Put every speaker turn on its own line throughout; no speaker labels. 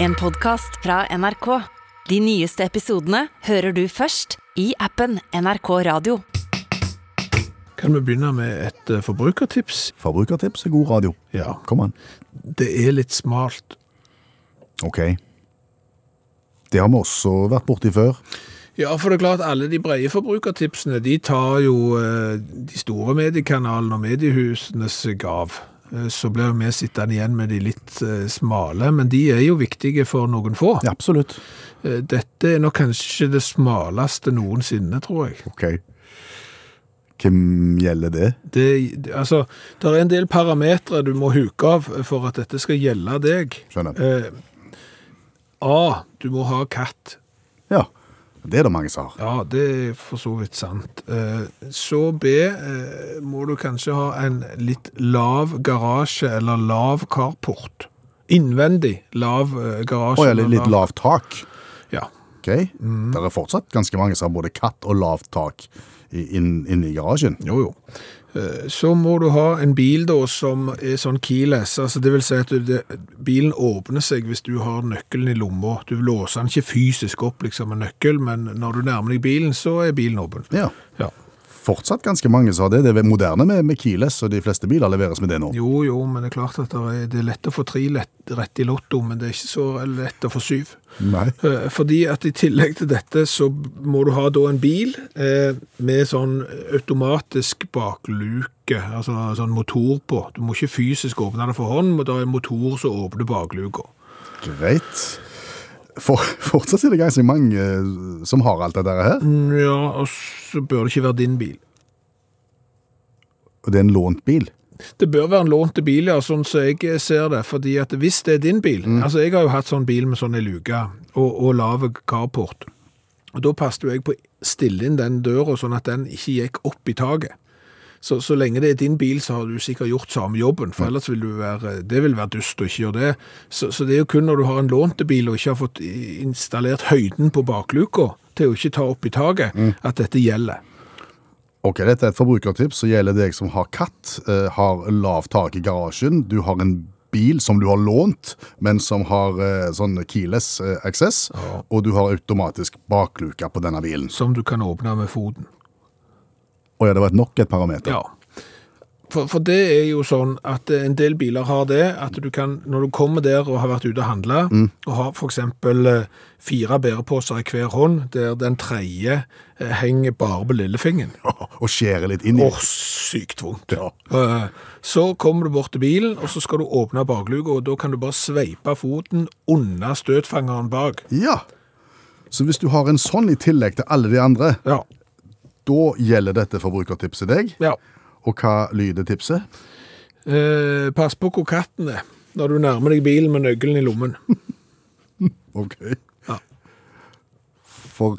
En podcast fra NRK. De nyeste episodene hører du først i appen NRK Radio.
Kan vi begynne med et eh, forbrukertips?
Forbrukertips er god radio.
Ja.
Kom an.
Det er litt smalt.
Ok. Det har vi også vært borti før.
Ja, for det er klart alle de brede forbrukertipsene, de tar jo eh, de store mediekanalene og mediehusenes gav. Eh, Så blir vi sittende igjen med de litt eh, smale, men de er jo viktige for noen få.
Ja, absolutt.
Eh, Dette er nok kanskje det smaleste noensinne, tror jeg.
Ok. Hvem gjelder det?
Det, altså, det er en del parametre du må huke av for at dette skal gjelde deg.
Skjønner.
Eh, A. Du må ha katt.
Ja, det er det mange som har.
Ja, det er for så vidt sant. Eh, Så B. eh, Må du kanskje ha en litt lav garasje eller lav carport. Innvendig lav eh, garasje.
Å ja, litt,
eller
litt lavt tak.
Ja.
Ok. Det er fortsatt ganske mange som har både katt og lavt tak i- inn- inne i garasjen.
Jo, jo. Eh, Så må du ha en bil da som er sånn keyless, altså det vil si at du, det, bilen åpner seg hvis du har nøkkelen i lomma. Du låser den ikke fysisk opp liksom med nøkkel, men når du nærmer deg bilen, så er bilen åpen.
Ja.
Ja.
Fortsatt ganske mange som har det. Det er moderne med, med keyless, og de fleste biler leveres med det nå.
Jo, jo, men det er klart at det er, det er lett å få tre lett, rett i lotto, men det er ikke så lett å få syv.
Nei.
Eh, Fordi at i tillegg til dette så må du ha da en bil eh, med sånn automatisk bakluke, altså sånn motor på. Du må ikke fysisk åpne det for hånd, men det er en motor som åpner bakluka.
Greit. For, fortsatt er det ganske mange eh, som har alt dette her.
Ja, og så bør det ikke være din bil.
Og det er en lånt bil.
Det bør være en lånte bil, ja, sånn som jeg ser det. fordi at hvis det er din bil Altså, jeg har jo hatt sånn bil med sånn ei luke og, og lav carport. Og da passet jo jeg på å stille inn den døra, sånn at den ikke gikk opp i taket. Så, så lenge det er din bil, så har du sikkert gjort samme jobben, for ellers vil du være, det vil være dust å ikke gjøre det. Så, så det er jo kun når du har en lånte bil og ikke har fått i- installert høyden på bakluka til å ikke ta opp i taket, at dette gjelder.
Ok, Dette er et forbrukertips som gjelder deg som har katt, eh, har lavt tak i garasjen, du har en bil som du har lånt, men som har eh, sånn keyless eh, access, og du har automatisk bakluke på denne bilen.
Som du kan åpne med foten.
Å ja, det var et nok et parameter.
Ja. For, for det er jo sånn at eh, en del biler har det, at du kan, når du kommer der og har vært ute og handla, og har f.eks. fire bæreposer i hver hånd, der den tredje eh, henger bare på lillefingeren.
Og skjærer litt inn i.
Åh, sykt vondt. Eh, Så kommer du bort til bilen, og så skal du åpne bakluka, og da kan du bare sveipe foten unna støtfangeren bak.
Ja. Så hvis du har en sånn i tillegg til alle de andre,
Ja.
da gjelder dette forbrukertipset deg.
ja.
Og hva lyder tipset?
Eh, pass på hvor katten er når du nærmer deg bilen med nøkkelen i lommen.
Ok.
Ja.
For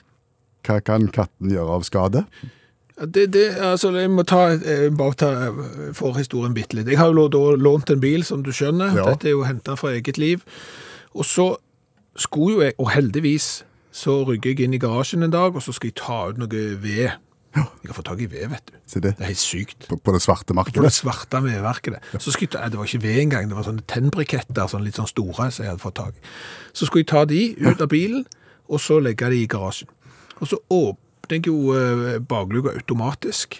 hva kan katten gjøre av skade?
Det, det, altså, jeg må ta, eh, bare ta eh, forhistorien bitte litt. Jeg har jo lå- da lånt en bil, som du skjønner.
Ja.
Dette er jo henta fra eget liv. Og så skulle jo jeg, og heldigvis, så rygger jeg inn i garasjen en dag, og så skal jeg ta ut noe ved. Jeg har fått tak i ved, vet du.
Se det.
Det er helt sykt.
På, på det svarte
På det
markedet?
svarte vedverket. det. Så skulle jeg ta, nei, det var ikke ved engang, det var sånne tennbriketter, sånn litt sånn store, som jeg hadde fått tak i. Så skulle jeg ta de ut av bilen, og så legge de i garasjen. Og så åpner jeg jo eh, bakluka automatisk,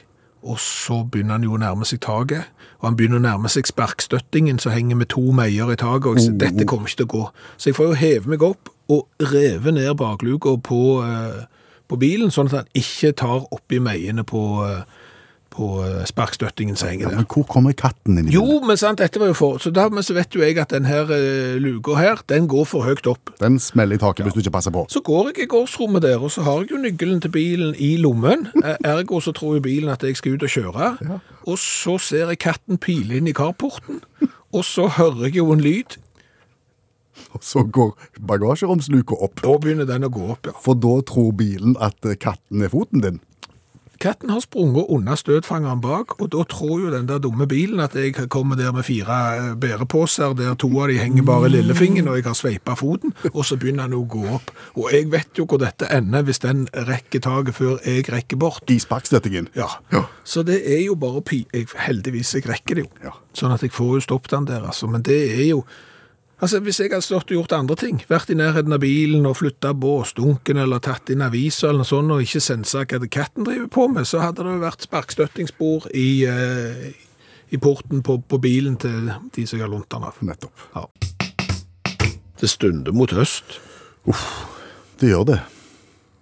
og så begynner han jo å nærme seg taket, og han begynner å nærme seg sparkstøttingen, som henger med to meier i taket, og jeg sier, dette kommer ikke til å gå. Så jeg får jo heve meg opp, og reve ned bakluka på, eh, på bilen, sånn at han ikke tar oppi meiene på, eh, på eh, sparkstøttingen som
Ja,
henger der.
men hvor kommer katten inn i bildet?
Jo, men sant, dette var jo for... Så dermed så vet jo jeg at den her eh, luka her, den går for høyt opp.
Den smeller i taket hvis du ikke passer på.
Så går jeg i gårdsrommet der, og så har jeg jo nøkkelen til bilen i lommen. Eh, Ergo så tror jo bilen at jeg skal ut og kjøre. Og så ser jeg katten pile inn i carporten, og så hører jeg jo en lyd.
Og så går bagasjeromsluka opp.
Da begynner den å gå opp, ja.
For da tror bilen at eh, katten er foten din.
Katten har sprunget unna støtfangeren bak, og da tror jo den der dumme bilen at jeg kommer der med fire eh, bærepåser, der to av de henger bare i lillefingeren, og jeg har sveipet foten, og så begynner han å gå opp. Og jeg vet jo hvor dette ender hvis den rekker taget før jeg rekker bort.
I sparkstøttingen.
Ja.
Ja.
Så det er jo bare pi... Jeg, heldigvis, jeg rekker det jo.
Ja.
Sånn at jeg får jo stoppet den der, altså. Men det er jo Altså, Hvis jeg hadde stått og gjort andre ting, vært i nærheten av bilen og flytta båsdunken eller tatt inn aviser eller noe sånt og ikke sensa hva det katten driver på med, så hadde det jo vært sparkstøttingsspor i, eh, i porten på, på bilen til de som jeg har lånt den av.
Nettopp.
Det stunder mot høst.
Det gjør det.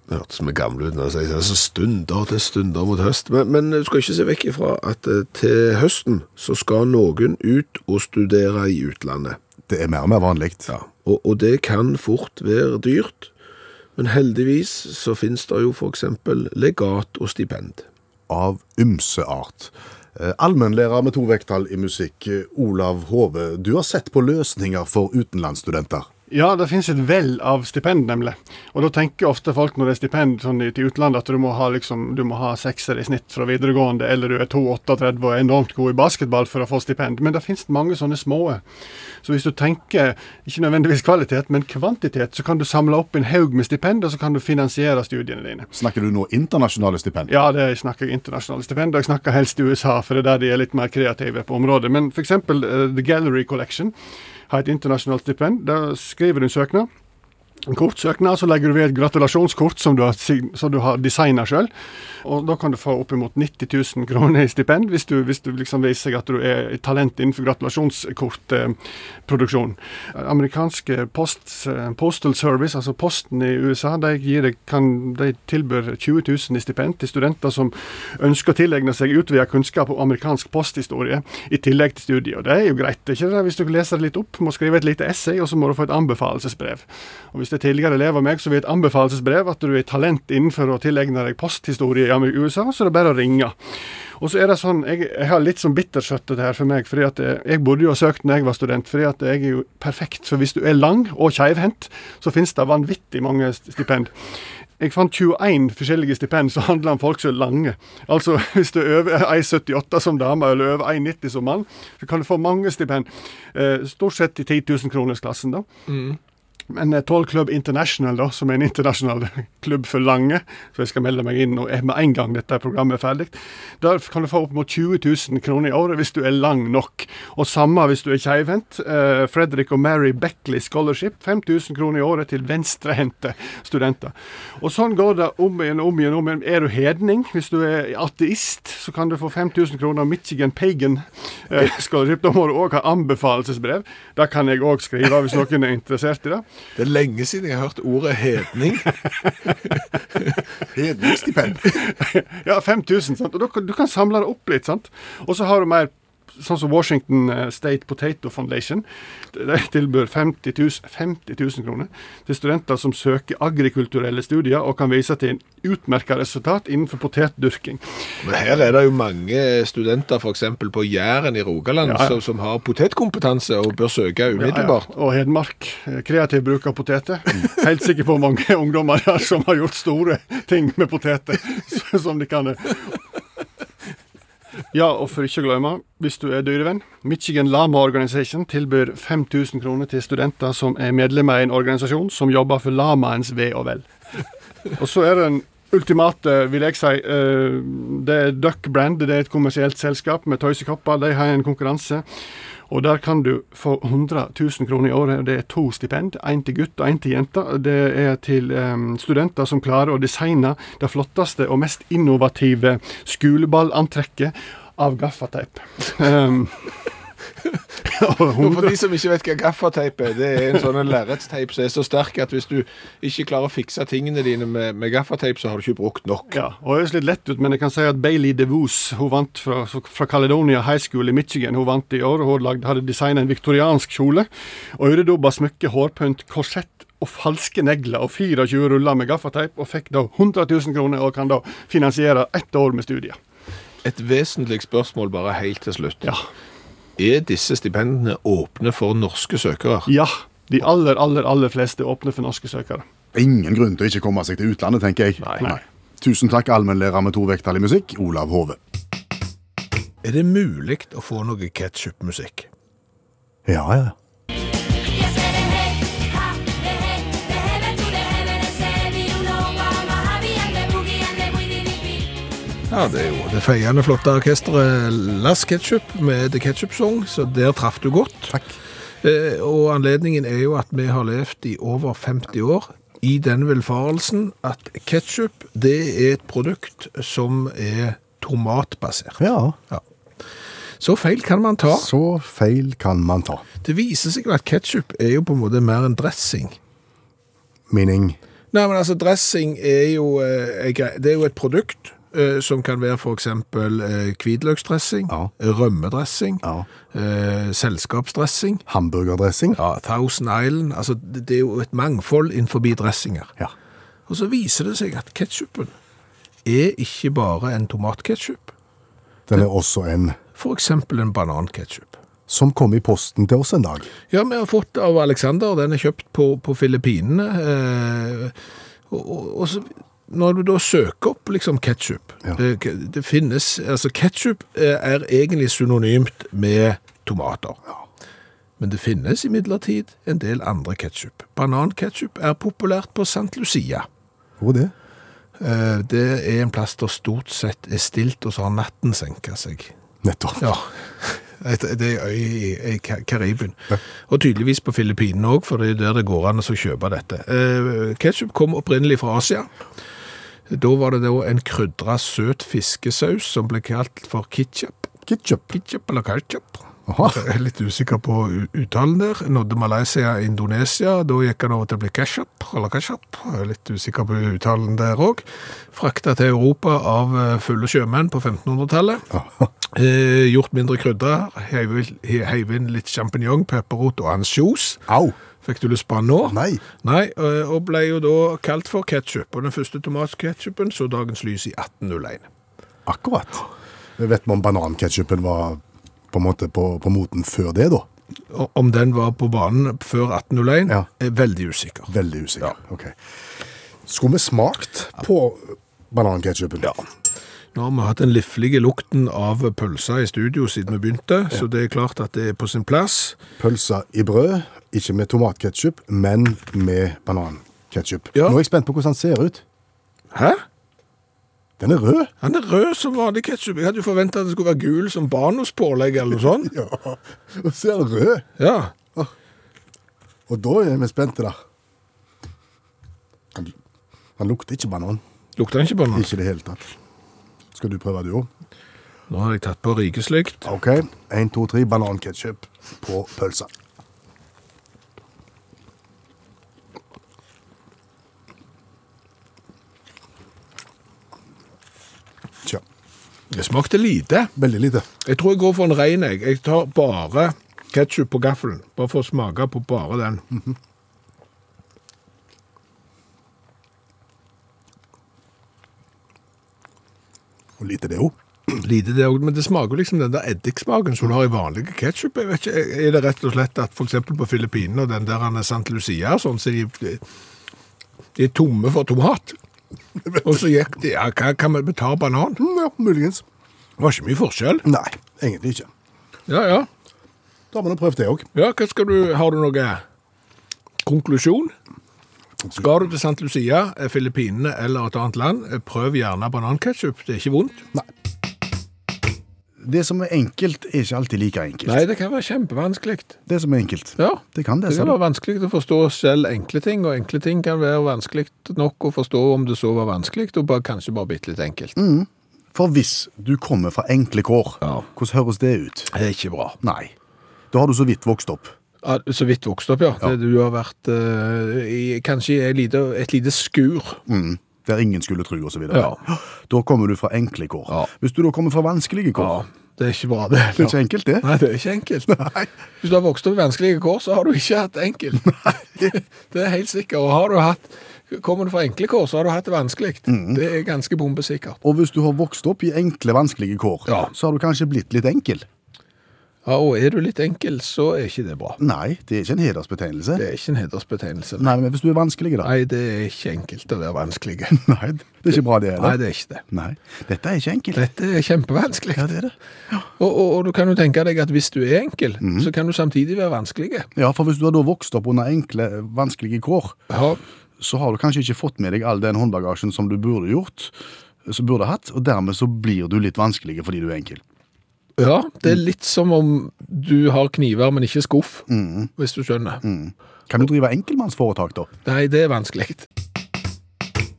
Det hørtes vi gamle ut når jeg sier det, så stunder til stunder mot høst. Men, men du skal ikke se vekk ifra at eh, til høsten så skal noen ut og studere i utlandet.
Det er mer og mer vanlig.
Ja. Og, og det kan fort være dyrt, men heldigvis så finnes det jo for eksempel legat og stipend.
Av ymse art. Eh, Allmennlærer med to vekttall i musikk, eh, Olav Hove. Du har sett på løsninger for utenlandsstudenter.
Ja, det finnes et vell av stipend, nemlig. Og da tenker ofte folk når det er stipend sånn, i- til utlandet, at du må ha liksom, du må ha sekser i snitt fra videregående, eller du er 2,38 og er enormt god i basketball for å få stipend. Men det finnes mange sånne små. Så hvis du tenker ikke nødvendigvis kvalitet, men kvantitet, så kan du samle opp en haug med stipend, og så kan du finansiere studiene dine.
Snakker du nå internasjonale stipend?
Ja, det jeg snakker internasjonale stipend. Jeg snakker helst i USA, for det er der de er litt mer kreative på området. Men f.eks. Uh, The Gallery Collection har et internasjonalt stipend. Da skriver du en søknad. En kort søknad, så legger du ved et gratulasjonskort som du har, sign- som du har designa sjøl. Og da kan du få oppimot 90 000 kroner i stipend, hvis du, hvis du liksom viser at du er et talent innenfor gratulasjonskortproduksjon. Amerikanske post, eh, Postal Service, altså Posten i USA, de, gir, deg- kan, de tilbyr 20 000 i stipend til studenter som ønsker å tilegne seg utvida kunnskap om amerikansk posthistorie, i tillegg til studiet. Og det er jo greit, det er ikke det? Hvis du leser det litt opp, må skrive et lite essay, og så må du få et anbefalelsesbrev. Og Hvis det er tidligere elever av meg som vil et anbefalelsesbrev at du er talent innenfor å tilegne deg posthistorie i USA, så er det bare å ringe. Og så er det sånn, Jeg, jeg har litt sånn bitterskjøttet her for meg, fordi at jeg, jeg burde jo ha søkt når jeg var student, fordi at jeg er jo perfekt. For hvis du er lang og keivhendt, så finnes det vanvittig mange st- stipend. Jeg fant 21 forskjellige stipend som handler om folk som er lange. Altså hvis du er over 1,78 som dame eller over 1,90 som mann, så kan du få mange stipend. Eh, stort sett i 10 000 kronersklassen, da. Men eh, 12 Club International, da, som er en internasjonal klubb for lange, så jeg skal melde meg inn og med en gang dette programmet er ferdig, der kan du få opp mot 20 000 kroner i året hvis du er lang nok. Og samme hvis du er keivhendt. Eh, Fredrik og Mary Beckley Scholarship, 5000 kroner i året til venstrehendte studenter. Og sånn går det om igjen og om igjen. om igjen. Er du hedning, hvis du er ateist, så kan du få 5000 kroner av Michigan Pagan eh, Scholarship. Da må du òg ha anbefalelsesbrev. Det kan jeg òg skrive hvis noen er interessert i det.
Det er lenge siden jeg har hørt ordet hedning.
Hedningsstipend.
Ja, 5000, sant? og du, du kan samle det opp litt, sant? Og så har du mer sånn som Washington eh, State Potato Foundation. De tilbyr 50 000, 50 000 kroner til studenter som søker agrikulturelle studier og kan vise til en utmerket resultat innenfor potetdyrking.
Men her er det jo mange studenter f.eks. på Jæren i Rogaland
Ja, ja.
Som, som har potetkompetanse og bør søke umiddelbart.
Ja, ja. Og Hedmark. eh, Kreativ bruk av poteter. Helt sikker på mange ungdommer der som har gjort store ting med poteter. så- Som de kan eh. Ja, og for ikke å glemme, hvis du er dyrevenn, Michigan Lama Organization tilbyr 5000 kroner til studenter som er medlemmer i en organisasjon som jobber for lamaens ve og vel. Og så er det en ultimate, vil jeg si. eh, Det er Duck Brand, det er et kommersielt selskap med tøysekopper. De har en konkurranse. Og der kan du få 100 000 kroner i året. Det er to stipend, én til gutt og én til jente. Det er til em, studenter som klarer å designe det flotteste og mest innovative skoleballantrekket av gaffateip. Eh, Em, og
Og for
100
de som ikke vet hva gaffateip er, det er en sånn en lerretsteip som er så sterk at hvis du ikke klarer å fikse tingene dine med, med gaffateip, så har du ikke brukt nok.
Ja, og høres litt lett ut, men jeg kan si at Bailey DeVos, hun vant fra, fra Caledonia High School i Michigan, hun vant i år, og hun lagde, hadde designet en viktoriansk kjole, og øredobba smykke, hårpynt, korsett og falske negler, og 24 ruller med gaffateip, og fikk da 100 000 kroner, og kan da finansiere ett år med studier.
Et vesentlig spørsmål bare helt til slutt.
Ja.
Er disse stipendene åpne for norske søkere?
ja. De aller, aller, aller fleste åpner for norske søkere.
Ingen grunn til å ikke komme seg til utlandet, tenker jeg.
Nei.
Tusen takk, allmennlærer med to vekttall i musikk, Olav Hove.
Er det mulig å få noe ketchup-musikk?
Ja, ja.
Jeg ser det hei, ha, det hei, det hei, vet du det hei, men det ser vi jo nå, mamma, har vi en, det boogie, en, det boogie, vi, vi.
Ja, det er jo det feiende flotte orkesteret Lass Ketchup med The Ketchup Song, så der traff du godt.
Takk.
Eh, Og anledningen er jo at vi har levd i over 50 år i den velfarelsen at ketsjup det er et produkt som er tomatbasert.
Ja.
Så feil kan man ta.
Så feil kan man ta.
Det viser seg jo at ketsjup er jo på en måte mer en dressing.
Meaning
Nei, men altså, dressing er jo, eh, en grei- det er jo et produkt eh, som kan være for eksempel eh, hvitløksdressing,
Ja.
rømmedressing,
Ja.
eh, selskapsdressing,
hamburgerdressing.
ja, Thousand Island. Altså, det det er jo et mangfold innenfor dressinger.
Ja.
Og så viser det seg at ketchupen er ikke bare en tomatketchup,
Den er også en
for eksempel en bananketchup.
som kom i posten til oss en dag.
Ja, vi har fått av Alexander, den er kjøpt på, på Filippinene. Eh, og, og, og så, når du da søker opp liksom ketchup,
Ja.
eh, ke- det finnes, altså ketchup eh, er egentlig synonymt med tomater. Men det finnes i midlertid en del andre ketchup. Bananketchup er populært på St. Lucia.
Hvor er det?
Eh, det er en plass der stort sett er stilt, og så har natten senket seg.
Nettopp.
Ja. Et- Det er en øy i, i Ka- Karibien. Og tydeligvis på Filippinene òg, for det er der det går an å kjøpe dette. Eh, Ketchup kom opprinnelig fra Asia. Da var det da en krydra søt fiskesaus som ble kalt for ketchup.
Ketchup.
Ketchup eller ketchup.
Aha.
Jeg er litt usikker på u- uttalen der. Nådde Malaysia og Indonesia. Da gikk han over til å bli ketchup eller ketchup. Jeg er Litt usikker på uttalen der òg. Frakta til Europa av eh, fulle sjømenn på 1500-tallet.
Aha.
Eh, gjort mindre krydder, heiv he- heiv inn litt champignon, pepperrot og ansjos.
Au!
Fikk du lyst på den nå?
Nei.
Nei, eh, og ble jo da kalt for ketchup. Og den første tomatketchupen så dagens lys i 1801.
Akkurat. Vet vi om bananketchupen var på en måte på, på moten før det, da?
Og om den var på banen før 1801,
Ja.
er veldig usikker.
Veldig usikker. Ok. Skulle vi smakt på bananketchupen? Ja.
Nå har vi hatt den liflige lukten av pølser i studio siden vi begynte, så det er klart at det er på sin plass.
Pølser i brød, ikke med tomatketchup, men med bananketchup.
Ja.
Nå er jeg spent på hvordan den ser ut.
Hæ?
Den er rød.
Han er rød som vanlig ketchup. Jeg hadde jo forventa at det skulle være gul som Banos-pålegg eller noe sånt.
Ja, og så er den rød.
Ja,
Og da er vi spente, da. Han, han lukter ikke banan.
Lukter den ikke banan?
Ikke i det hele tatt. Skal du prøve, du òg?
Nå har jeg tatt på rikeslykt.
OK. Én, to, tre. Bananketchup på pølsa. Tja.
Det smakte lite.
Veldig lite.
Jeg tror jeg går for en ren egg. Jeg tar bare ketsjup på gaffelen. Bare for å smake på bare den.
Og lite det òg.
Lite det òg, men det smaker jo liksom den der eddiksmaken som du har i vanlig ketsjup. Jeg vet ikke, Er det rett og slett at f.eks. på Filippinene og den der han er St. Lucia og sånn, så de, de er tomme for tomat? Og så gikk de Ja, hva kan vi- vi ta banan? Det
Mm, Ja, muligens.
var ikke mye forskjell.
Nei, egentlig ikke.
Ja, ja.
Da har vi nå prøvd det òg.
Ja, hva skal du, har du noe konklusjon? Skal du til St. Lucia, eh, Filippinene eller et annet land, eh, prøv gjerne bananketchup. Det er ikke vondt.
Det som er enkelt, er ikke alltid like enkelt.
Nei, det kan være kjempevanskelig.
Det som er enkelt.
Ja, Sånn.
Det kan det,
det
sa
kan
du.
være vanskelig å forstå selv enkle ting, og enkle ting kan være vanskelig nok å forstå om det så var vanskelig, og bare, kanskje bare bitte litt enkelt.
For hvis du kommer fra enkle kår,
Ja.
hvordan høres det ut?
Det er ikke bra.
Nei. Da har du så vidt vokst opp.
Ja, Så vidt vokst opp, ja. Det, du har vært eh, i, kanskje i et lite, et lite skur.
Mm. Der ingen skulle tro, og så videre.
Ja.
Da kommer du fra enkle kår.
Ja.
Hvis du da kommer fra vanskelige kår,
Ja, det er ikke bra det.
det er ikke enkelt, det.
Nei, det er ikke enkelt. Hvis du har vokst opp i vanskelige kår, så har du ikke hatt det enkelt. det er helt sikkert. Og har du hatt, kommer du fra enkle kår, så har du hatt det vanskelig.
Mm.
Det er ganske bombesikkert.
Og hvis du har vokst opp i enkle, vanskelige kår,
Ja.
så har du kanskje blitt litt enkel.
Ja, og er du litt enkel, så er ikke det bra.
Nei, det er ikke en hedersbetegnelse.
Det er ikke en hedersbetegnelse.
Nei, men hvis du er vanskelig, da.
Nei, det er ikke enkelt å være vanskelig.
Nei, det er ikke bra, det
Nei,
heller.
det er ikke det.
Nei, dette er ikke enkelt.
Dette er kjempevanskelig.
Ja, det er det.
Og, og, og du kan jo tenke deg at hvis du er enkel,
Mm.
så kan du samtidig være vanskelig.
Ja, for hvis du har da vokst opp under enkle, vanskelige kår,
Ja,
så har du kanskje ikke fått med deg all den håndbagasjen eh, som du burde gjort, som burde hatt, og dermed så blir du litt vanskelig fordi du er enkel.
Ja, det er litt som om du har kniver, men ikke skuff, hvis du skjønner.
Kan du drive enkeltmannsforetak, da?
Nei, det er vanskelig.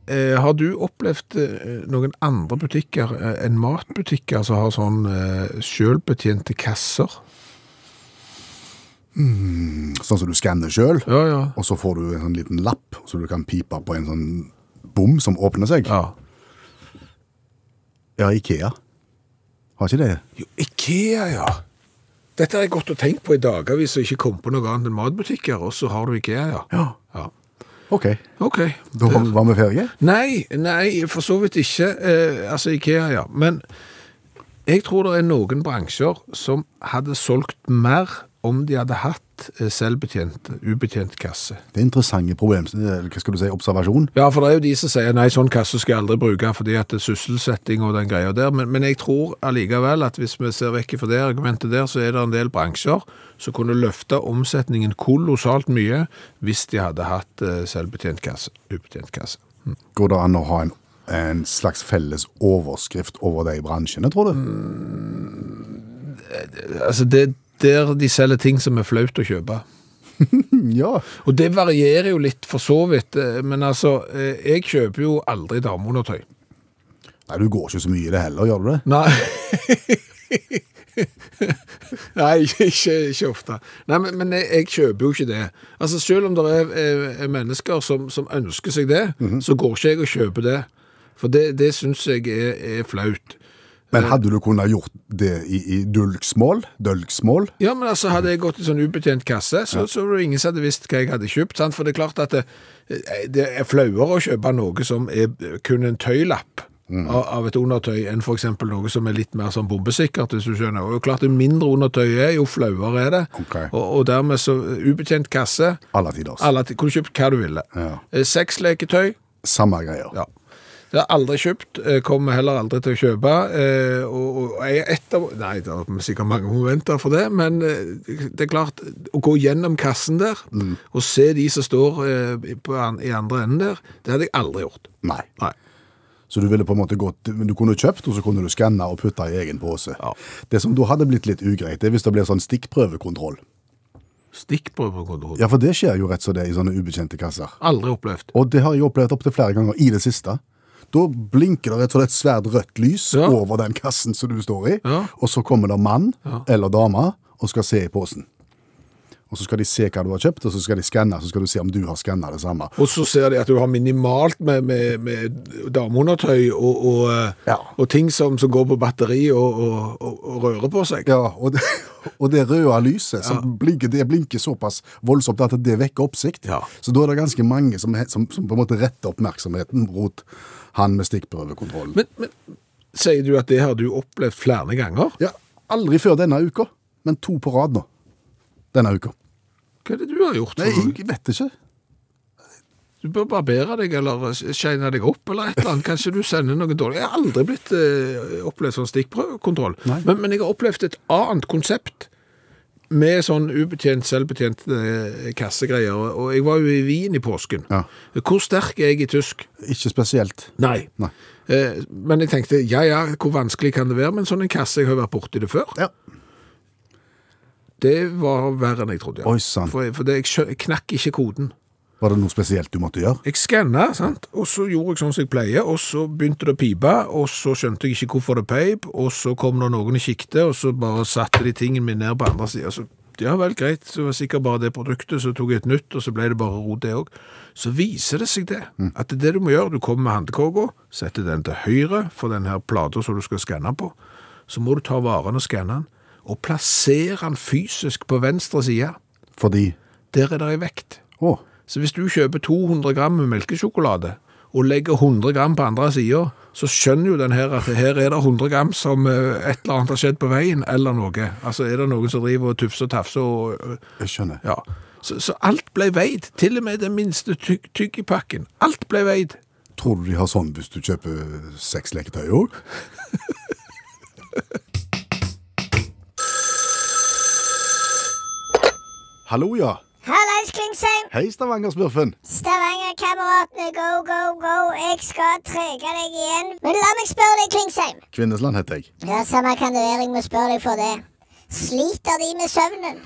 Eh, har du opplevd eh, noen andre butikker eh, enn matbutikker som har sånn eh, selvbetjente kasser? Mm,
Sånn som du skanner sjøl,
Ja, ja.
og så får du en sånn liten lapp så du kan pipe på en sånn bom som åpner seg.
ja.
Ja, Ikea. Har ikke det?
Jo, Ikea, ja. Dette har jeg gått og tenkt på i dagavis og ikke kom på noe annet enn matbutikker, og så har du Ikea, ja.
Ja.
Ja.
OK.
Ok.
Da var var vi ferdige?
Nei, nei, for så vidt ikke. Eh, altså Ikea, ja. Men jeg tror det er noen bransjer som hadde solgt mer om de hadde hatt eh, selvbetjent, ubetjent kasse.
Det er interessante problem, eller hva skal du si, observasjon.
Ja, for det er jo de som sier nei, sånn kasse skal jeg aldri bruke fordi at det er sysselsetting og den greia der, men, men jeg tror allikevel at hvis vi ser vekk fra det argumentet der, så er det en del bransjer som kunne løfte omsetningen kolossalt mye hvis de hadde hatt eh, selvbetjent kasse, ubetjent kasse.
Går det an å ha en, en slags felles overskrift over de bransjene, tror du?
Altså, det er der de selger ting som er flaut å kjøpe. Mm,
Ja.
Og det varierer jo litt for så vidt, eh, men altså, eh, jeg kjøper jo aldri dameundertøy.
Nei, du går ikke så mye i det heller, gjør du det?
Nei. Nei, ikke, ikke, ikke ofte. Nei, men, men jeg, jeg kjøper jo ikke det. Altså, Selv om det er, er, er mennesker som, som ønsker seg det, så går ikke jeg og kjøper det. For det, det syns jeg er, er flaut.
Men hadde du kunnet gjort det i, i dulksmål? Dølksmål?
Ja, men altså, Hadde jeg gått i sånn ubetjent kasse, så, så var det ingen som hadde visst hva jeg hadde kjøpt. Sant? For det er klart at det, det er flauere å kjøpe noe som er kun en tøylapp
Mm.
av, av et undertøy, enn f.eks. noe som er litt mer sånn bombesikkert, hvis du skjønner. Og klart, Jo mindre undertøy er, jo flauere er det.
Ok.
Og, og dermed så eh, Ubetjent kasse.
Alle tiders.
Alle ti- kunne kjøpt hva du ville.
Ja.
Eh, Sexleketøy.
Samme greier.
Ja. Det har jeg aldri kjøpt, eh, kommer heller aldri til å kjøpe. eh, Og, og jeg er et av Nei, det er sikkert mange momenter for det, men eh, det er klart Å gå gjennom kassen der
Mm.
og se de som står eh, på, an- i andre enden der, det hadde jeg aldri gjort.
Nei.
Nei.
Så du ville på en måte gått, men du kunne kjøpt, og så kunne du skanne og putte i egen pose.
Ja.
Det som da hadde blitt litt ugreit, det er hvis det blir sånn stikkprøvekontroll.
Stikkprøvekontroll.
Ja, for det skjer jo rett som det er i sånne ubetjente kasser.
Aldri opplevd.
Og det har jeg opplevd opptil flere ganger i det siste. Da blinker det rett og slett svært rødt lys
Ja.
over den kassen som du står i,
Ja.
og så kommer det mann eller dame og skal se i posen. Og så skal de se hva du har kjøpt, og så skal de skanne, så skal du se om du har skanna det samme.
Og så ser de at du har minimalt med, med, med dameundertøy og, og, eh,
Ja.
og ting som, som går på batteri og, og, og, og rører på seg.
Ja, og det, og det røde lyset som blinker, det blinker såpass voldsomt at det vekker oppsikt.
Ja.
Så da er det ganske mange som, he- som, som på en måte retter oppmerksomheten mot han med stikkprøvekontrollen.
Men, men sier du at det har du opplevd flere ganger?
ja, aldri før denne uka, men to på rad nå. Denne uka.
Hva er det du har gjort? for
Nei,
noe?
jeg vet ikke.
Du bør barbere deg eller eh, shine deg opp eller et eller annet. Kanskje du sender noe dårlig. Jeg har aldri blitt eh, opplevd sånn stikkprøvekontroll.
Nei.
Men, men jeg har opplevd et annet konsept med sånn ubetjent, selvbetjent eh, kassegreier. Og jeg var jo i Wien i påsken.
Ja.
Hvor sterk er jeg i tysk?
Ikke spesielt.
Nei.
Nei.
Eh, men jeg tenkte, ja ja, hvor vanskelig kan det være med en sånn en kasse? Jeg har jo vært borti det før.
Ja.
Det var verre enn jeg trodde. ja.
Oi, sann.
For, for det, jeg skjø- jeg knakk ikke koden.
Var det noe spesielt du måtte gjøre?
Jeg skanna, sant? og så gjorde jeg sånn som jeg pleier, og så begynte det å pipe, og så skjønte jeg ikke hvorfor det peip, og så kom det noen i sikte, og så bare satte de tingen min ned på andre sida. Så ja vel, greit, så var det sikkert bare det produktet, så tok jeg et nytt, og så ble det bare rot, det òg. Så viser det seg det, at det du må gjøre, du kommer med handkåka, setter den til høyre for den her plata som du skal skanne på, så må du ta varen og skanne den, og plassere den fysisk på venstre side.
Fordi
Der er det ei vekt.
Å,
Så hvis du kjøper 200 gram med melkesjokolade, og legger 100 gram på andre siden, så skjønner jo den her at her er det 100 gram som eh, et eller annet har skjedd på veien, eller noe. Altså er det noen som driver og tufser og tafser og eh,
jeg skjønner.
Ja. Så, så alt ble veid. Til og med den minste tygg, tyggipakken. Alt ble veid.
Tror du de har sånn hvis du kjøper seks leketøy òg? Hallo, ja.
Hallais, Klingsheim!
Hei, Stavanger-smurfen.
Stavanger kameratene, go, go, go. Jeg skal trege deg igjen. Men la meg spørre deg, Klingsheim.
Kvinnesland heter jeg.
Ja, samme kan det være. Jeg må spørre deg for det. Sliter de med søvnen?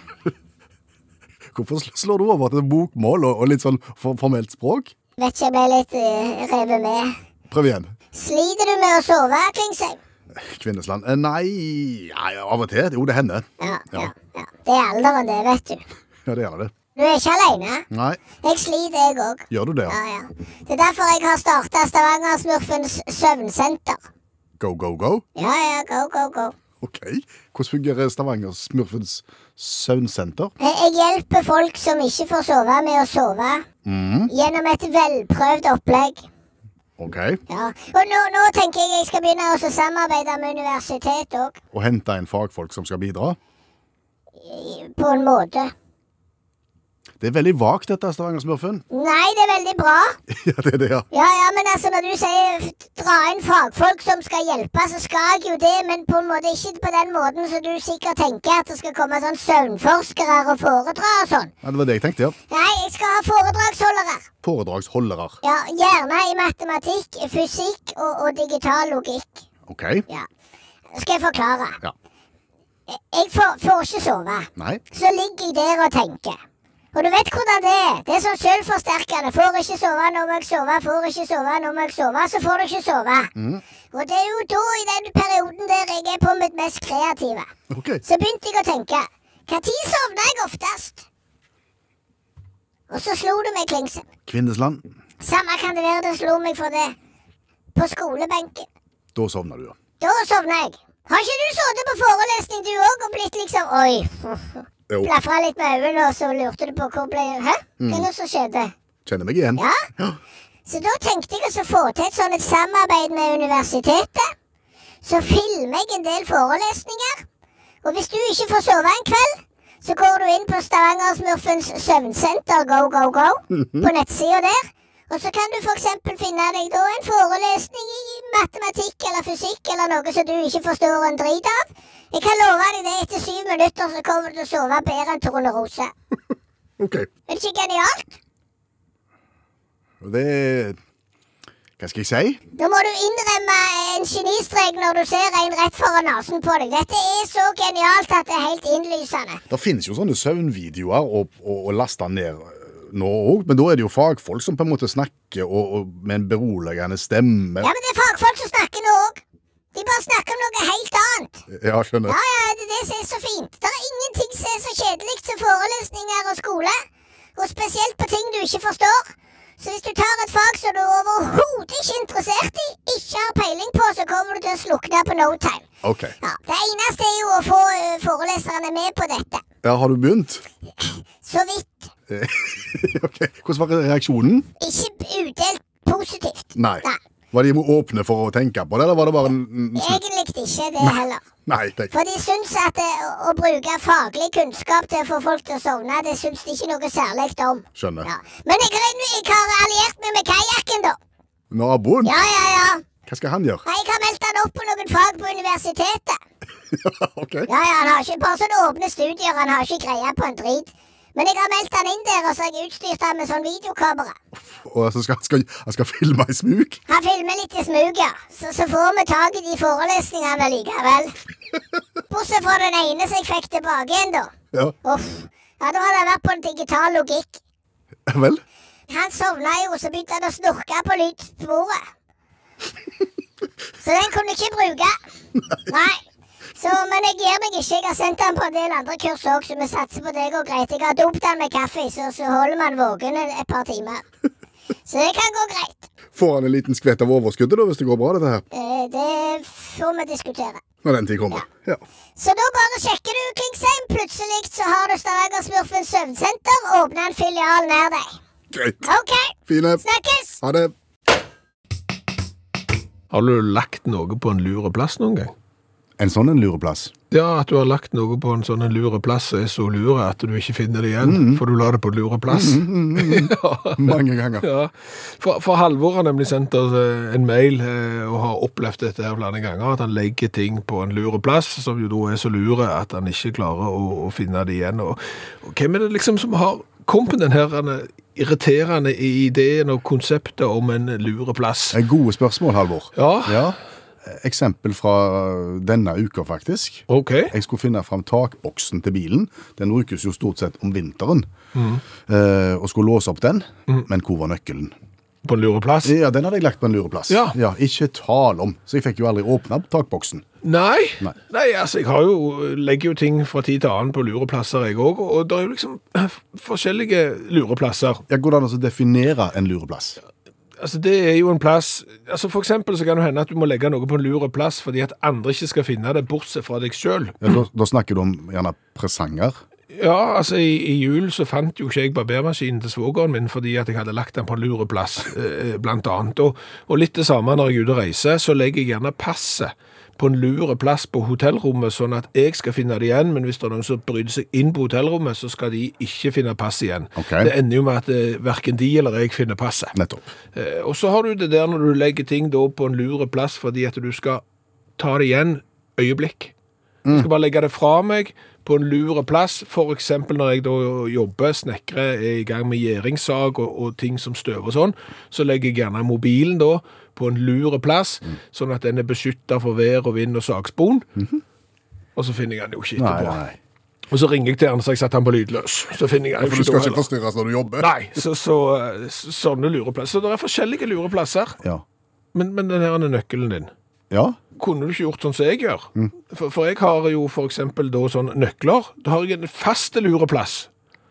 Hvorfor sl- slår du over til bokmål og, og litt sånn for, formelt språk?
Vet ikke, jeg ble litt eh, revet med.
Prøv igjen.
Sliter du med å sove, Klingsheim?
Kvinnesland. Eh, Nei, nei av og til. Jo, det hender.
Ja, ja, ja. Det er alderen, det, vet du.
Ja, det gjør det.
Du er ikke aleine.
Nei,
Jeg sliter, jeg òg.
gjør du det?
Ja,
ja?
ja. Det er derfor jeg har starta Stavangersmurfens søvnsenter.
Go, go, go?
Ja, ja, go, go, go.
Ok. Hvordan fungerer Stavanger Smurfens søvnsenter?
Eh, Jeg jeg hjelper folk som ikke får sove, med å sove. Gjennom et velprøvd opplegg.
Ok.
Ja. Og nå, nå tenker jeg jeg skal begynne å samarbeide med universitetet òg.
Og hente inn fagfolk som skal bidra?
På en måte.
Det er veldig vagt, dette Stavanger Smurfen.
Nei, det er veldig bra.
ja, det er det, ja.
Ja, ja, men altså når du sier f- dra inn fagfolk som skal hjelpe, så skal jeg jo det, men på en måte ikke på den måten som du sikkert tenker at det skal komme sånn søvnforskere og foredra og sånn.
ja. Det var det jeg tenkte, ja.
Nei, jeg skal ha foredragsholdere.
Foredragsholdere.
Ja, gjerne i matematikk, fysikk og, og digital logikk.
Ok.
Ja. Skal jeg forklare?
Ja.
Jeg får, får ikke sove.
Nei.
Så ligger jeg der og tenker. Og du vet hvordan det er. Det er sånn selvforsterkende. Får ikke sove, nå må jeg sove. Får ikke sove, nå må jeg sove. Så får du ikke sove. Og det er jo da, i den perioden der jeg er på mitt mest kreative,
Ok.
så begynte jeg å tenke Når sovner jeg oftest? Og så slo det meg klingsen.
Kvinnesland.
Samme kan det være det slo meg for det. På skolebenken.
Da sovner du, ja.
Da sovna jeg. Har ikke du sittet på forelesning du òg og blitt liksom Oi.
Jo,
Blafra litt med øynene, og så lurte du på hvor ble Hæ? Hva er det som skjedde?
kjenner meg igjen.
Ja? Så da tenkte jeg å få til et sånt et samarbeid med universitetet. Så filmer jeg en del forelesninger. Og hvis du ikke får sove en kveld, så går du inn på Stavangersmurfens søvnsenter Go Go Go på nettsida der. Og så kan du f.eks. finne deg da en forelesning i matematikk eller fysikk eller noe som du ikke forstår en drit av. Jeg kan love deg det, etter syv minutter så kommer du til å sove bedre enn Torne Rose.
Ok.
Er det ikke genialt?
Det Hva skal jeg si?
Da må du innrømme eh, en genistrek når du ser en rett foran nesen på deg. Dette er så genialt at det er helt innlysende.
Det finnes jo sånne søvnvideoer å, å, å laste ned eh, nå òg, men da er det jo fagfolk som på en måte snakker og, og, med en beroligende stemme.
Ja, men det er fagfolk som snakker nå òg. De bare snakker om noe helt annet.
Ja, skjønner.
Ja, ja, det er det som er så fint. Det er ingenting som er så kjedelig som forelesninger og skole. Og spesielt på ting du ikke forstår. Så hvis du tar et fag som du overhodet ikke er interessert i, ikke har peiling på, så kommer du til å slukne på no time.
Ok.
Ja, Det eneste er jo å få eh, foreleserne med på dette.
Ja, har du begynt?
Så vidt.
Ok, Hvordan var reaksjonen?
Ikke udelt positivt.
Nei.
Nei.
Var de åpne for å tenke på det, eller var det bare en en slutt?
Egentlig ikke det heller.
Nei, tenk.
For de syns at eh, å, å bruke faglig kunnskap til å få folk til å sovne, det syns de ikke noe særlig om.
Skjønner.
Ja. Men jeg, har- jeg har alliert meg med kajakken, da.
Naboen?
Ja, ja, ja.
Hva skal han gjøre?
Nei, Jeg har meldt han opp på noen fag på universitetet.
ok.
Ja, ja, Han har ikke bare sånne åpne studier, han har ikke greie på en drit. Men jeg har meldt han inn der, og så har jeg utstyrt han med sånn videokamera.
Og så skal, skal, han skal filme i smug?
Han filmer litt i smug, ja. Så, så får vi tak i de forelesningene likevel. Bortsett fra den ene som jeg fikk tilbake igjen, da.
Ja.
Uff. Ja, da hadde han vært på en digital logikk.
Vel?
Han sovna jo, så begynte han å snorke på lydsporet. Så den kunne jeg ikke bruke. Nei. Så, men jeg gir meg ikke. Jeg har sendt han på en del andre kurs òg, så vi satser på det går greit. Jeg har dopt han med kaffe, så, så holder man våken et par timer. Så det kan gå greit.
Får han en liten skvett av overskuddet da, hvis det går bra, dette her?
Eh, Det får vi diskutere.
Når den tid kommer. Ja.
Så da bare sjekker du Klingsheim. Plutselig så har du Stavangersmurfens søvnsenter åpna en filial nær deg.
Greit.
OK,
Fine.
snakkes!
Ha det.
Har du lagt noe på en lure plass noen gang?
En sånn en lureplass.
Ja, at du har lagt noe på en sånn en lure plass som er så lure at du ikke finner det igjen, for du la det på lure plass. ja.
Mange ganger.
Ja, for, for Halvor har nemlig sendt oss eh, en mail eh, og har opplevd dette her flere ganger, at han legger ting på en lure plass, som jo da er så lure at han ikke klarer å, å finne det igjen. Og, og hvem er det liksom som har kommet den her eh, irriterende i ideen og konseptet om en lure plass?
Eh, Gode spørsmål, Halvor.
Ja,
Eksempel fra denne uka, faktisk.
ok.
Jeg skulle finne fram takboksen til bilen. Den brukes jo stort sett om vinteren. Eh, og skulle låse opp den,
Mm.
men hvor var nøkkelen?
På en lureplass?
Ja, Den hadde jeg lagt på en lureplass.
Ja.
ikke tale om. Så jeg fikk jo aldri åpna opp takboksen.
Nei.
Nei.
Nei, altså, jeg har jo, legger jo ting fra tid til annen på lureplasser, jeg òg. Og det er jo liksom forskjellige lureplasser.
Ja, Går det an å definere en lureplass?
Altså, det er jo en plass altså For eksempel så kan det hende at du må legge noe på en lureplass fordi at andre ikke skal finne det, bortsett fra deg sjøl.
Ja, da, da snakker du om gjerne presanger.
Ja, altså i, i jul så fant jo ikke jeg barbermaskinen til svogeren min fordi at jeg hadde lagt den på en lureplass, eh, blant annet. Og, og litt det samme når jeg er ute og reiser, så legger jeg gjerne passet på en lureplass på hotellrommet, sånn at jeg skal finne det igjen, men hvis det er noen som bryter seg inn på hotellrommet, så skal de ikke finne passet igjen.
Ok.
Det ender jo med at eh, hverken de eller jeg finner passet.
Nettopp.
Eh, Og så har du det der når du legger ting da på en lure plass fordi at du skal ta det igjen øyeblikk.
Mm.
Jeg skal bare legge det fra meg på en lure plass, for eksempel når jeg da jobber, snekrer, er i gang med gjeringssag og, og ting som støver og sånn, så legger jeg gjerne mobilen da på en lure plass,
Mm.
sånn at den er beskyttet for vær og vind og sagspon.
Mhm.
Og så finner jeg den jo ikke etterpå. Og så ringer jeg til han, så har jeg setter han på lydløs. Så finner jeg den jo
For du
ikke
skal
da
ikke
heller.
forstyrres når du jobber.
Nei, så, så, så sånne lureplasser. Så det er forskjellige lureplasser.
Ja.
Men, men den her er nøkkelen din.
ja.
Kunne du ikke gjort sånn som jeg gjør? For, for jeg har jo for eksempel da sånn nøkler. Da har jeg en faste lureplass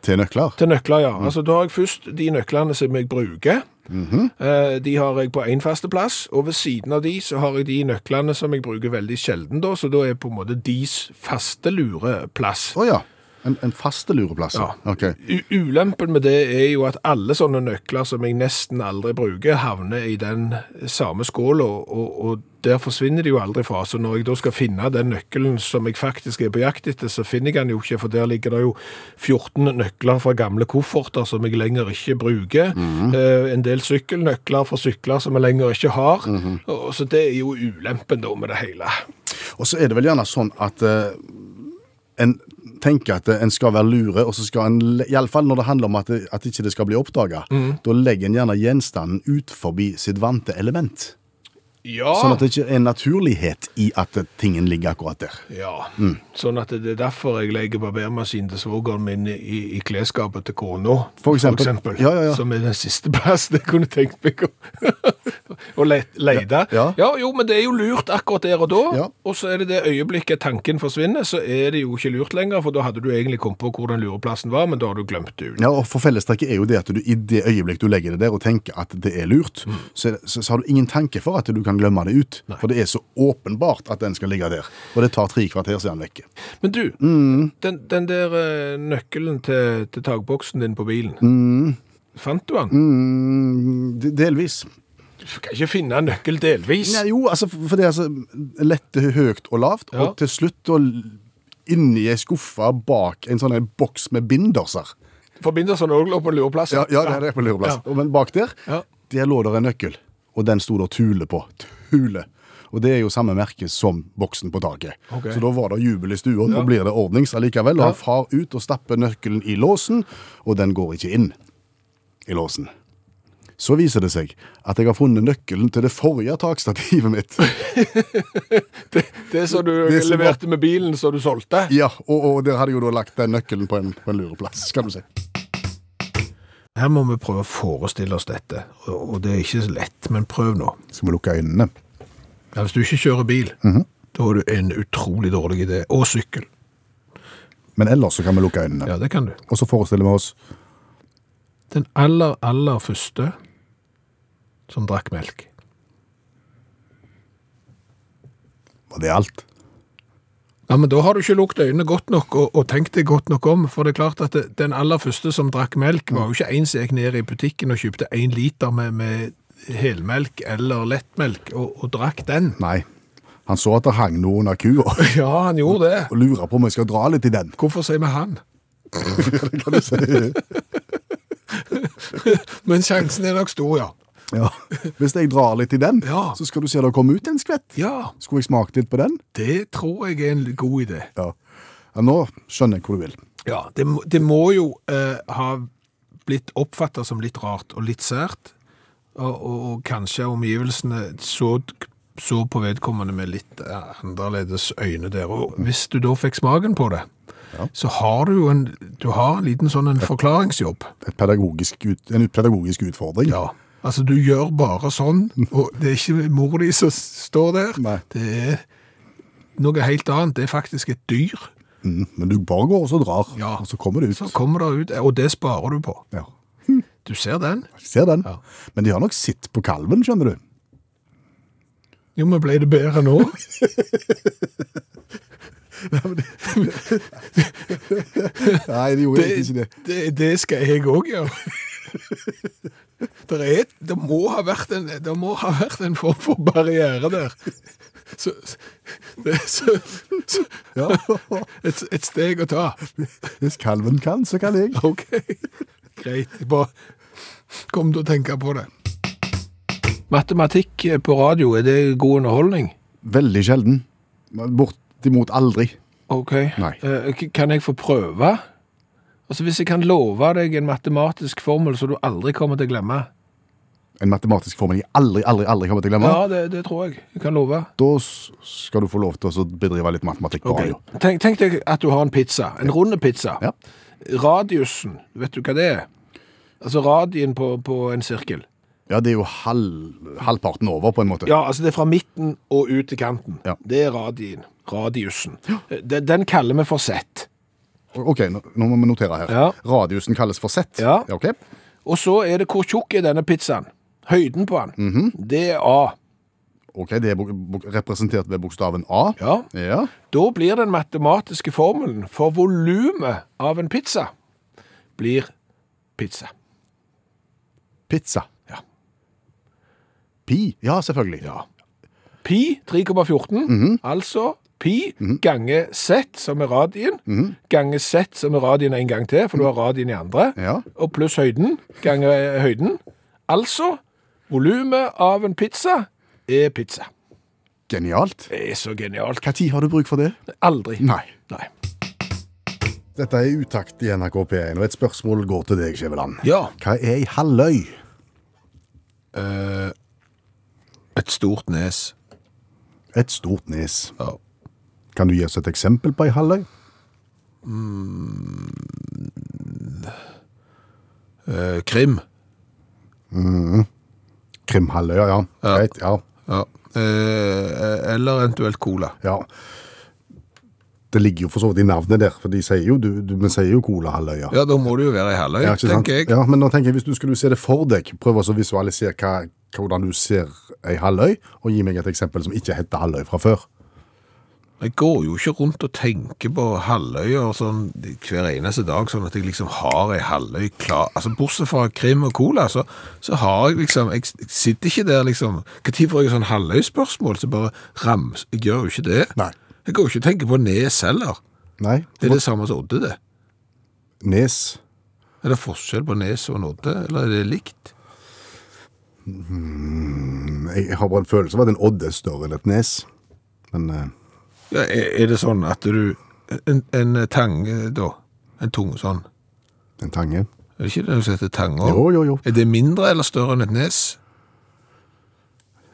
Til nøkler.
til nøkler, ja. Altså da har jeg først de nøklene som jeg bruker. Eh, De har jeg på én faste plass, og ved siden av de så har jeg de nøklene som jeg bruker veldig sjelden, da, så da er på en måte deres faste lureplass.
Å ja. En, en faste lureplass.
Ja.
Ok.
U- Ulempen med det er jo at alle sånne nøkler som jeg nesten aldri bruker, havner i den samme skåla, og, og der forsvinner de jo aldri fra. Så når jeg da skal finne den nøkkelen som jeg faktisk er på jakt etter, så finner jeg den jo ikke, for der ligger det jo 14 nøkler fra gamle kofferter som jeg lenger ikke bruker,
Mhm.
eh, en del sykkelnøkler fra sykler som jeg lenger ikke har,
Mhm.
og, så det er jo ulempen da med det hele.
Og så er det vel gjerne sånn at eh, en tenker at eh, en skal være lure, og så skal en, le- i alle fall når det handler om at, det, at ikke det skal bli oppdaga, da legger en gjerne gjenstanden ut forbi sitt vante element.
Ja.
Sånn at det ikke er en naturlighet i at eh, tingen ligger akkurat der.
Ja,
Mm.
sånn at det er derfor jeg legger barbermaskinen til svogeren min i, i klesskapet til kona.
For eksempel. Ja, ja, ja.
Som er den siste plassen jeg kunne tenkt meg å, å le, lete.
Ja, ja.
jo, men det er jo lurt akkurat der og da.
Ja.
Og så er det det øyeblikket tanken forsvinner, så er det jo ikke lurt lenger, for da hadde du egentlig kommet på hvor den lureplassen var, men da har du glemt det ut.
Ja, og For fellestrekket er jo det at du i det øyeblikk du legger det der og tenker at det er lurt, så, er det- så, så har du ingen tanke for at du kan glemme det ut. For det er så åpenbart at den skal ligge der. Og det tar tre kvarter siden den vekke.
Men du,
Mm.
den, den der eh, nøkkelen til, til takboksen din på bilen, fant du den?
Mm, de- delvis.
Du kan ikke finne en nøkkel delvis.
Nei, jo, altså, for det er altså lette høyt og lavt,
Ja.
og til slutt da, l- inni ei skuffe bak en sånn en boks med binderser.
Forbindelsene òg lå på lureplass.
Ja, ja det er det på lureplass.
Ja.
Og Men bak der,
Ja.
der lå der en nøkkel, og den sto der Tule på. Tule. Og det er jo samme merke som boksen på taket.
Ok.
Så da var det jubel i stua, nå blir det ordnings allikevel. Og han far ut og stapper nøkkelen i låsen, og den går ikke inn i låsen. Så viser det seg at jeg har funnet nøkkelen til det forrige takstativet mitt.
Det som du
Det som var-
leverte med bilen som du solgte.
Ja, og, og der hadde jeg jo da lagt den nøkkelen på en, på en lureplass, kan du si.
Her må vi prøve å forestille oss dette, og og det er ikke så lett, men prøv nå.
Så må jeg lukke øynene.
Ja, hvis du ikke kjører bil,
Mhm.
da er du en utrolig dårlig idé. Og sykkel.
Men ellers så kan vi lukke øynene.
Ja, det kan du.
Og så forestiller vi oss
Den aller, aller første som drakk melk.
Var det alt?
Ja, men Da har du ikke lukket øynene godt nok og, og tenkt deg godt nok om. For det er klart at det, den aller første som drakk melk, var jo ikke en som gikk ned i butikken og kjøpte én liter med, med helmelk eller lettmelk og, og drakk den.
Nei. Han så at det hang noe under kua, og
Ja, han gjorde det.
lurer på om jeg skal dra litt i den.
Hvorfor sier vi han?
Det kan du si.
Men sjansen er nok stor, ja.
Ja. Hvis jeg drar litt i den,
Ja.
så skal du se det komme ut en skvett.
Ja,
Skulle jeg smakt litt på den?
det tror jeg er en god idé.
Ja. ja nå skjønner jeg hvor du vil.
Ja, det må, det må jo eh, ha blitt oppfatta som litt rart og litt sært, og, og, og kanskje omgivelsene så, så på vedkommende med litt eh, annerledes øyne der. Og hvis du da fikk smaken på det, så har du jo en, du har en liten sånn en forklaringsjobb.
Et pedagogisk ut, en pedagogisk utfordring.
Ja. Altså, du gjør bare sånn, og det er ikke mor di som står der.
Nei.
Det er noe helt annet. Det er faktisk et dyr.
Mm, men du bare går og så drar,
Ja.
og så kommer det ut.
Så kommer det ut, og det sparer du på.
Ja.
Du ser den.
Jeg Ser den.
Ja.
Men de har nok sitt på kalven, skjønner du.
Jo, men ble det bedre nå?
Nei, de gjorde
Det, det, det skal jeg òg gjøre. Det, er, det, må ha vært en, det må ha vært en form for barriere der. Så, det, så, så
Ja.
et, et steg å ta.
Hvis kalven kan, så kan jeg.
OK. Greit. Jeg bare kom til å tenke på det.
eh,
Matematikk på radio, er det god underholdning?
Veldig sjelden. Bortimot aldri.
Ok.
Nei.
Eh, k- Kan jeg få prøve? Altså, Hvis jeg kan love deg en matematisk formel som du aldri kommer til å glemme
En matematisk formel jeg aldri, aldri, aldri kommer til å glemme.
Ja, det, det tror jeg. Jeg kan love.
Da s- skal du få lov til å bedrive litt matematikk på radio.
Tenk, tenk deg at du har en pizza. En runde pizza.
Ja.
Radiusen, vet du hva det er? Altså radien på, på en sirkel.
Ja, det er jo halv, halvparten over, på en måte.
Ja, altså det er fra midten og ut til kanten.
Ja.
Det er radien. Radiusen. Den, den kaller vi for Z.
OK, nå, nå må vi notere her.
Ja.
Radiusen kalles for Z.
Ja.
OK.
Og så er det hvor tjukk er denne pizzaen? Høyden på den.
Mhm.
Det er A.
Ok, Det er bok- bok- representert ved bokstaven A.
Ja.
Ja.
Da blir den matematiske formelen for volumet av en pizza blir pizza.
Pizza.
Ja.
Pi. Ja, selvfølgelig.
Ja. Pi 3,14,
Mhm.
altså pi gange z, som er radien,
Mhm.
gange z, som er radien en gang til, for du har radien i andre,
Ja.
og pluss høyden, gange eh, høyden. Altså, volumet av en pizza er pizza.
Genialt.
Det er så genialt.
Når har du bruk for det?
Aldri.
Nei.
Nei.
Dette er utakt i NRK P1, og et spørsmål går til deg, Skjæveland.
Ja.
Hva er ei halvøy?
Et stort nes.
Et stort nes.
Ja.
Kan du gi oss et eksempel på ei halvøy?
Eh, Krim.
Krimhalvøya, ja.
Ja.
Greit, ja.
Ja. Eh, eller eventuelt cola.
ja. Det ligger jo for så vidt i navnet der, for de sier jo, du, du, vi sier jo Colahalvøya.
Ja, da må det jo være ei halvøy,
Ja, ikke sant?
tenker jeg.
Ja, men nå tenker jeg, hvis du skulle se det for deg, prøv også å visualisere hva, hvordan du ser ei halvøy, og gi meg et eksempel som ikke heter halvøy fra før.
Jeg går jo ikke rundt og tenker på halvøyer sånn hver eneste dag, sånn at jeg liksom har ei halvøy klar Altså bortsett fra krim og cola, så, så har jeg liksom Jeg s- jeg sitter ikke der liksom Når får jeg sånn halvøyspørsmål, så bare rams Jeg gjør jo ikke det.
Nei.
Jeg går jo ikke og tenker på nes heller.
Nei,
Det er det samme som odde, det.
nes.
Er det forskjell på nes og en odde, eller er det likt?
Jeg jeg har bare en følelse av at en odd er større enn et nes. Men eh,
Ja, er, er det sånn at du En, en tange, da? En tunge sånn?
en tange.
Er det ikke det som heter tange?
Jo, jo, jo.
Er det mindre eller større enn et nes?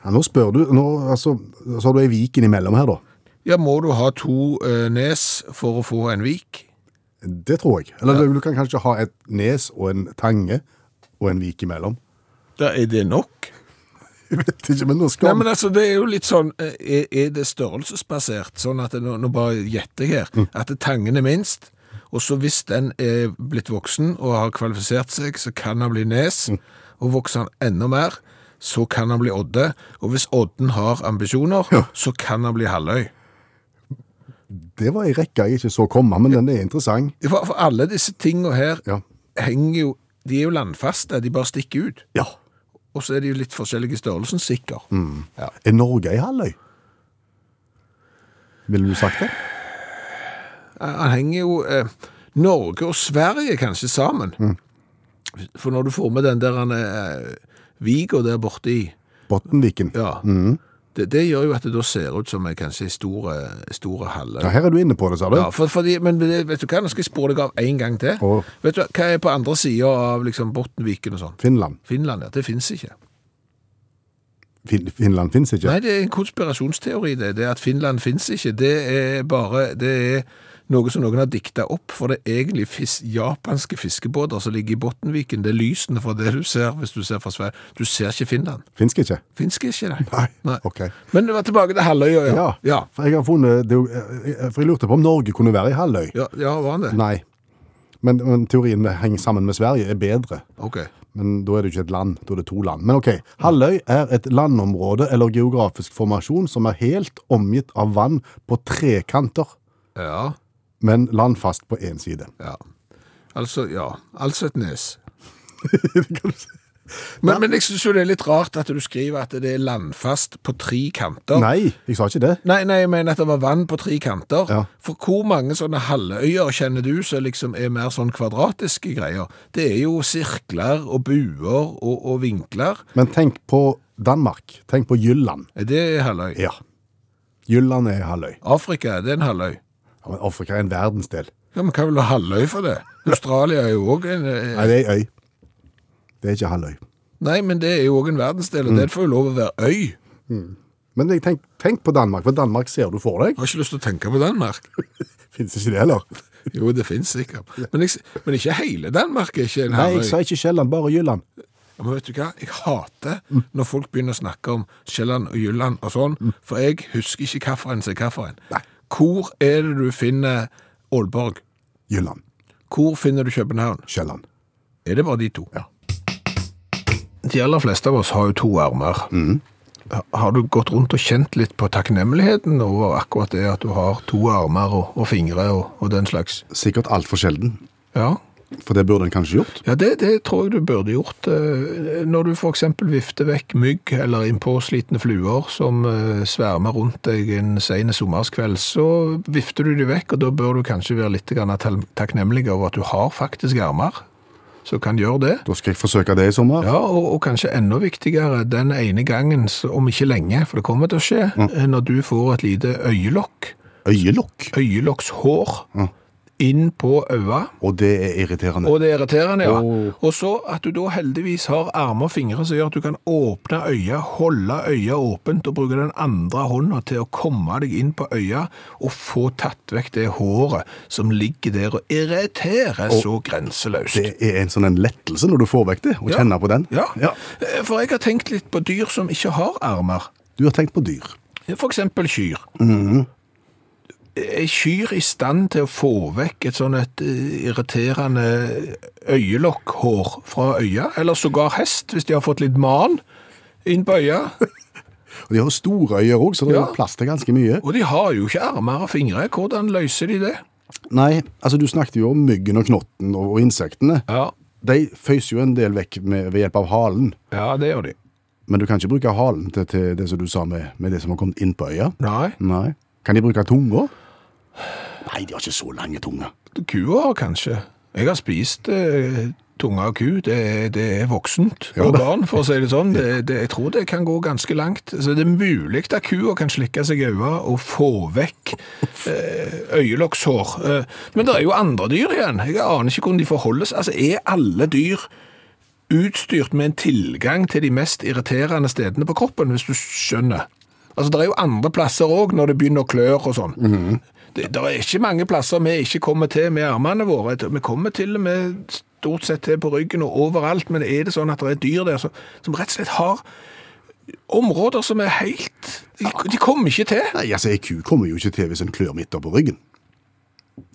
Ja, nå spør du, nå, altså, så har du ei vik innimellom her da.
Ja, må du ha to eh, nes for å få en vik?
Det tror jeg. Eller du kan kanskje ha et nes og en tange og en vik imellom.
Da er det nok.
Jeg vet ikke, men nå
Nei,
skal
men altså, det er jo litt sånn, eh, er, er det størrelsesbasert? Sånn at, det- nå, nå bare gjetter jeg her, at tangen er minst, og så hvis den er blitt voksen og har kvalifisert seg, så kan han bli nes, og vokser han enda mer, så kan han bli odde, og hvis odden har ambisjoner, så kan han bli halvøy.
Det var ei rekke jeg ikke så komme, men den er interessant.
For, for alle disse tingene her
Ja.
henger jo, de er jo landfaste, de bare stikker ut.
Ja.
Og så er de jo litt forskjellige i størrelsen, sikkert.
Er Norge ei halvøy? Ville du sagt det?
Han henger jo eh, Norge og Sverige kanskje sammen. For når du får med den der han, eh, Viga der borte i
Bottenviken.
Ja. Det, det gjør jo at det da ser ut som en kanskje stor store halle.
Ja, her er du inne på det, sa du.
Ja, for, fordi, men det- vet du hva, nå skal jeg spore deg av en gang til.
Åh.
Vet du hva, hva er på andre siden av liksom Bottenviken og sånn?
Finland.
Finland, ja. Det finnes ikke.
Fin Finland fins ikke.
Nei, det er en konspirasjonsteori det. Det at Finland finnes ikke, det er bare, det er noe som noen har dikta opp, for det er egentlig fis japanske fiskebåter som ligger i Bottenviken. Det er lysene fra det du ser hvis du ser fra Sverige. Du ser ikke Finland.
Finsk ikke?
Finnes ikke det.
Nei. Ok.
Men det var tilbake til Halløya, ja.
Ja.
Ja,
For jeg har funnet det, er jo- eh, For jeg lurte på om Norge kunne være i halvøy.
ja, ja var han det?
Nei. Men, men teorien med henge sammen med Sverige er bedre.
Ok.
Men da er det jo ikke et land, da er det to land. Men ok, Halløy er et landområde eller geografisk formasjon som er helt omgitt av vann på tre kanter,
Ja,
men landfast på én side.
ja. Altså, ja. Altså et nes. Men, men jeg synes jo det er litt rart at du skriver at det er landfast på tre kanter.
Nei, jeg sa ikke det.
Nei, nei, jeg mener at det var vann på tre kanter.
Ja.
For hvor mange sånne halvøyer kjenner du som liksom er mer sånn kvadratiske greier? Det er jo sirkler og buer og, og vinkler.
Men tenk på Danmark. Tenk på Jylland.
Er det halvøy?
Ja. Jylland er Halløy.
Afrika, er det en halvøy?
Ja, men Afrika er en verdensdel.
Ja, men hva vil du ha halvøy for det? Australia er jo også en... eh,
Nei, det er ei øy. Det er ikke Halløy.
Nei, men det er jo også en verdensdel, og
Mm.
det får jo lov å være øy.
Men jeg tenk, tenk på Danmark, for Danmark ser du for deg.
Jeg har ikke lyst til å tenke på Danmark.
Fins ikke det heller?
Jo, det finnes sikkert. Men, jeg, s- men ikke hele Danmark er ikke en
Nei,
halvøy.
jeg sa ikke Sjælland, bare Jylland.
Ja, Men vet du hva? Jeg hater når folk begynner å snakke om Sjælland og Jylland og sånn, for jeg husker ikke hvilken som er hvilken. Hvor er det du finner Aalborg?
Jylland.
Hvor finner du København?
Sjælland.
Er det bare de to? Ja. De aller fleste av oss har jo to armer. Ha- Har du gått rundt og kjent litt på takknemligheten over akkurat det at du har to armer og, og fingre og, og den slags?
Sikkert altfor sjelden.
Ja.
For det burde en kanskje gjort.
Ja, det, det tror jeg du burde gjort. eh, Når du for eksempel vifter vekk mygg eller innpåslitne fluer som eh, svermer rundt deg en sen sommerskveld, så vifter du de vekk, og da bør du kanskje være litt grann tal- takknemlig over at du har faktisk armer som kan gjøre det.
Da skal jeg forsøke det i sommer.
Ja, og, og kanskje enda viktigere, den ene gangen, så- om ikke lenge, for det kommer til å skje, eh, når du får et lite øyelokk,
Øyelokk.
øyelokkshår, inn på øya,
Og det er irriterende.
og det er irriterende, ja. Og så at du da heldigvis har armer og fingre som gjør at du kan åpne øya, holde øya åpent og bruke den andre hånda til å komme deg inn på øya og få tatt vekk det håret som ligger der og irriterer så grenseløst.
det er en sånn en lettelse når du får vekk det, og
Ja.
kjenner på den.
Ja. Eh, for jeg har tenkt litt på dyr som ikke har armer.
Du har tenkt på dyr.
For eksempel kyr. Mm-hmm. Er kyr i stand til å få vekk et sånn et eh, irriterende øyelokkhår fra øya? Eller sågar hest, hvis de har fått litt man inn på øya?
Og de har jo store øyer òg, så det er
Ja.
jo plass til ganske mye.
Og de har jo ikke armer og fingre. Hvordan løser de det?
Nei, altså du snakket jo om myggen og knotten og, og insektene.
Ja,
De føyser jo en del vekk med, ved hjelp av halen,
ja det gjør de.
men du kan ikke bruke halen til, til det som du sa med, med det som har kommet inn på øya.
Nei,
Nei. Kan de bruke tunga? Nei, de har ikke så lange tunger.
kua har kanskje. Jeg har spist eh, tunga av ku. Det, er- det er voksent organ, for å si det sånn. Det, det, jeg tror det kan gå ganske langt. Så det er mulig at kua kan slikke seg i øynene og få vekk eh, øyelokkshår. Eh, men det er jo andre dyr igjen. Jeg aner ikke hvordan de forholdes. Altså, er alle dyr utstyrt med en tilgang til de mest irriterende stedene på kroppen, hvis du skjønner. Altså, Det er jo andre plasser òg, når det begynner å klør og sånn. Det der er ikke mange plasser vi ikke kommer til med armene våre. Vi kommer til og med stort sett til på ryggen og overalt, men er det sånn at det er dyr der som, som rett og slett har områder som er helt De, de kommer ikke til.
Nei, altså, ei ku kommer jo ikke til hvis en klør midt opp på ryggen.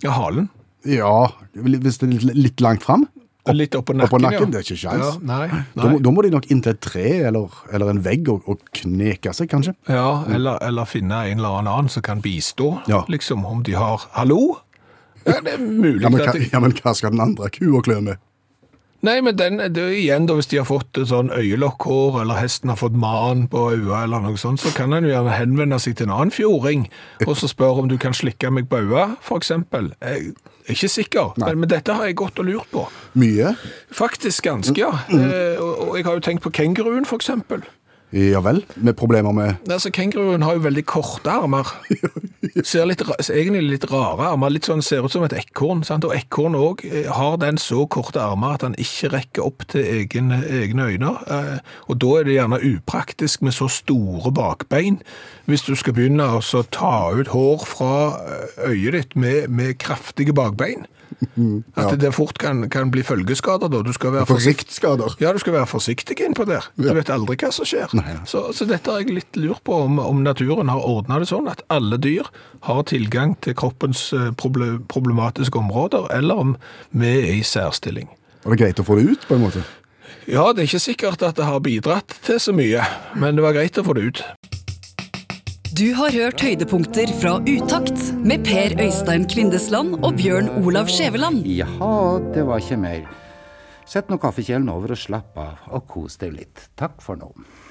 Ja, halen.
Ja, hvis det er litt, litt langt fram.
Litt oppå nakken.
Oppå
ja.
nakken, det er ikke sjans.
Ja, nei,
Da,
nei.
må- da må de nok inn til et tre eller, eller en vegg og, og kneke seg, kanskje.
Ja, eller, eller finne en eller annen som kan bistå,
Ja.
liksom, om de har Hallo? Ja, det er mulig
Ja men,
at
hva,
jeg...
ja, men hva skal den andre kua klø med?
Nei, men den, det er igjen, da, hvis de har fått et sånn øyelokkhår, eller hesten har fått man på øya, eller noe sånt, så kan han jo gjerne henvende seg til en annen fjording, og så spørre om du kan slikke meg på øya, for eksempel. Jeg er ikke sikker, men, men dette har jeg gått og lurt på.
Mye?
Faktisk ganske, ja. Eh, og, og jeg har jo tenkt på kenguruen, for eksempel.
Ja vel, med problemer med
Altså, Kenguruen har jo veldig korte armer. Ser litt, ra- ser egentlig litt rare armer. Litt sånn, ser ut som et ekorn. sant? Og ekorn òg har den så korte armer at han ikke rekker opp til egen, egne øyne. Eh, Og da er det gjerne upraktisk med så store bakbein. Hvis du skal begynne å så ta ut hår fra eh, øyet ditt med, med kraftige bakbein. At det fort kan, kan bli følgeskader. da. Du skal være forsiktig.
riktskader.
Ja, du skal være forsiktig innpå der. Du vet aldri hva som skjer. Så, så dette har jeg litt lurt på, om, om naturen har ordna det sånn at alle dyr har tilgang til kroppens eh, proble problematiske områder, eller om vi er i særstilling.
Og det er greit å få det ut, på en måte.
Ja, det er ikke sikkert at det har bidratt til så mye, men det var greit å få det ut.
Du har hørt høydepunkter fra Utakt med Per Øystein Kvindesland og Bjørn Olav Skjæveland.
Jaha, det var ikke mer. Sett nå kaffekjelen over og slapp av, og kos deg litt. Takk for nå.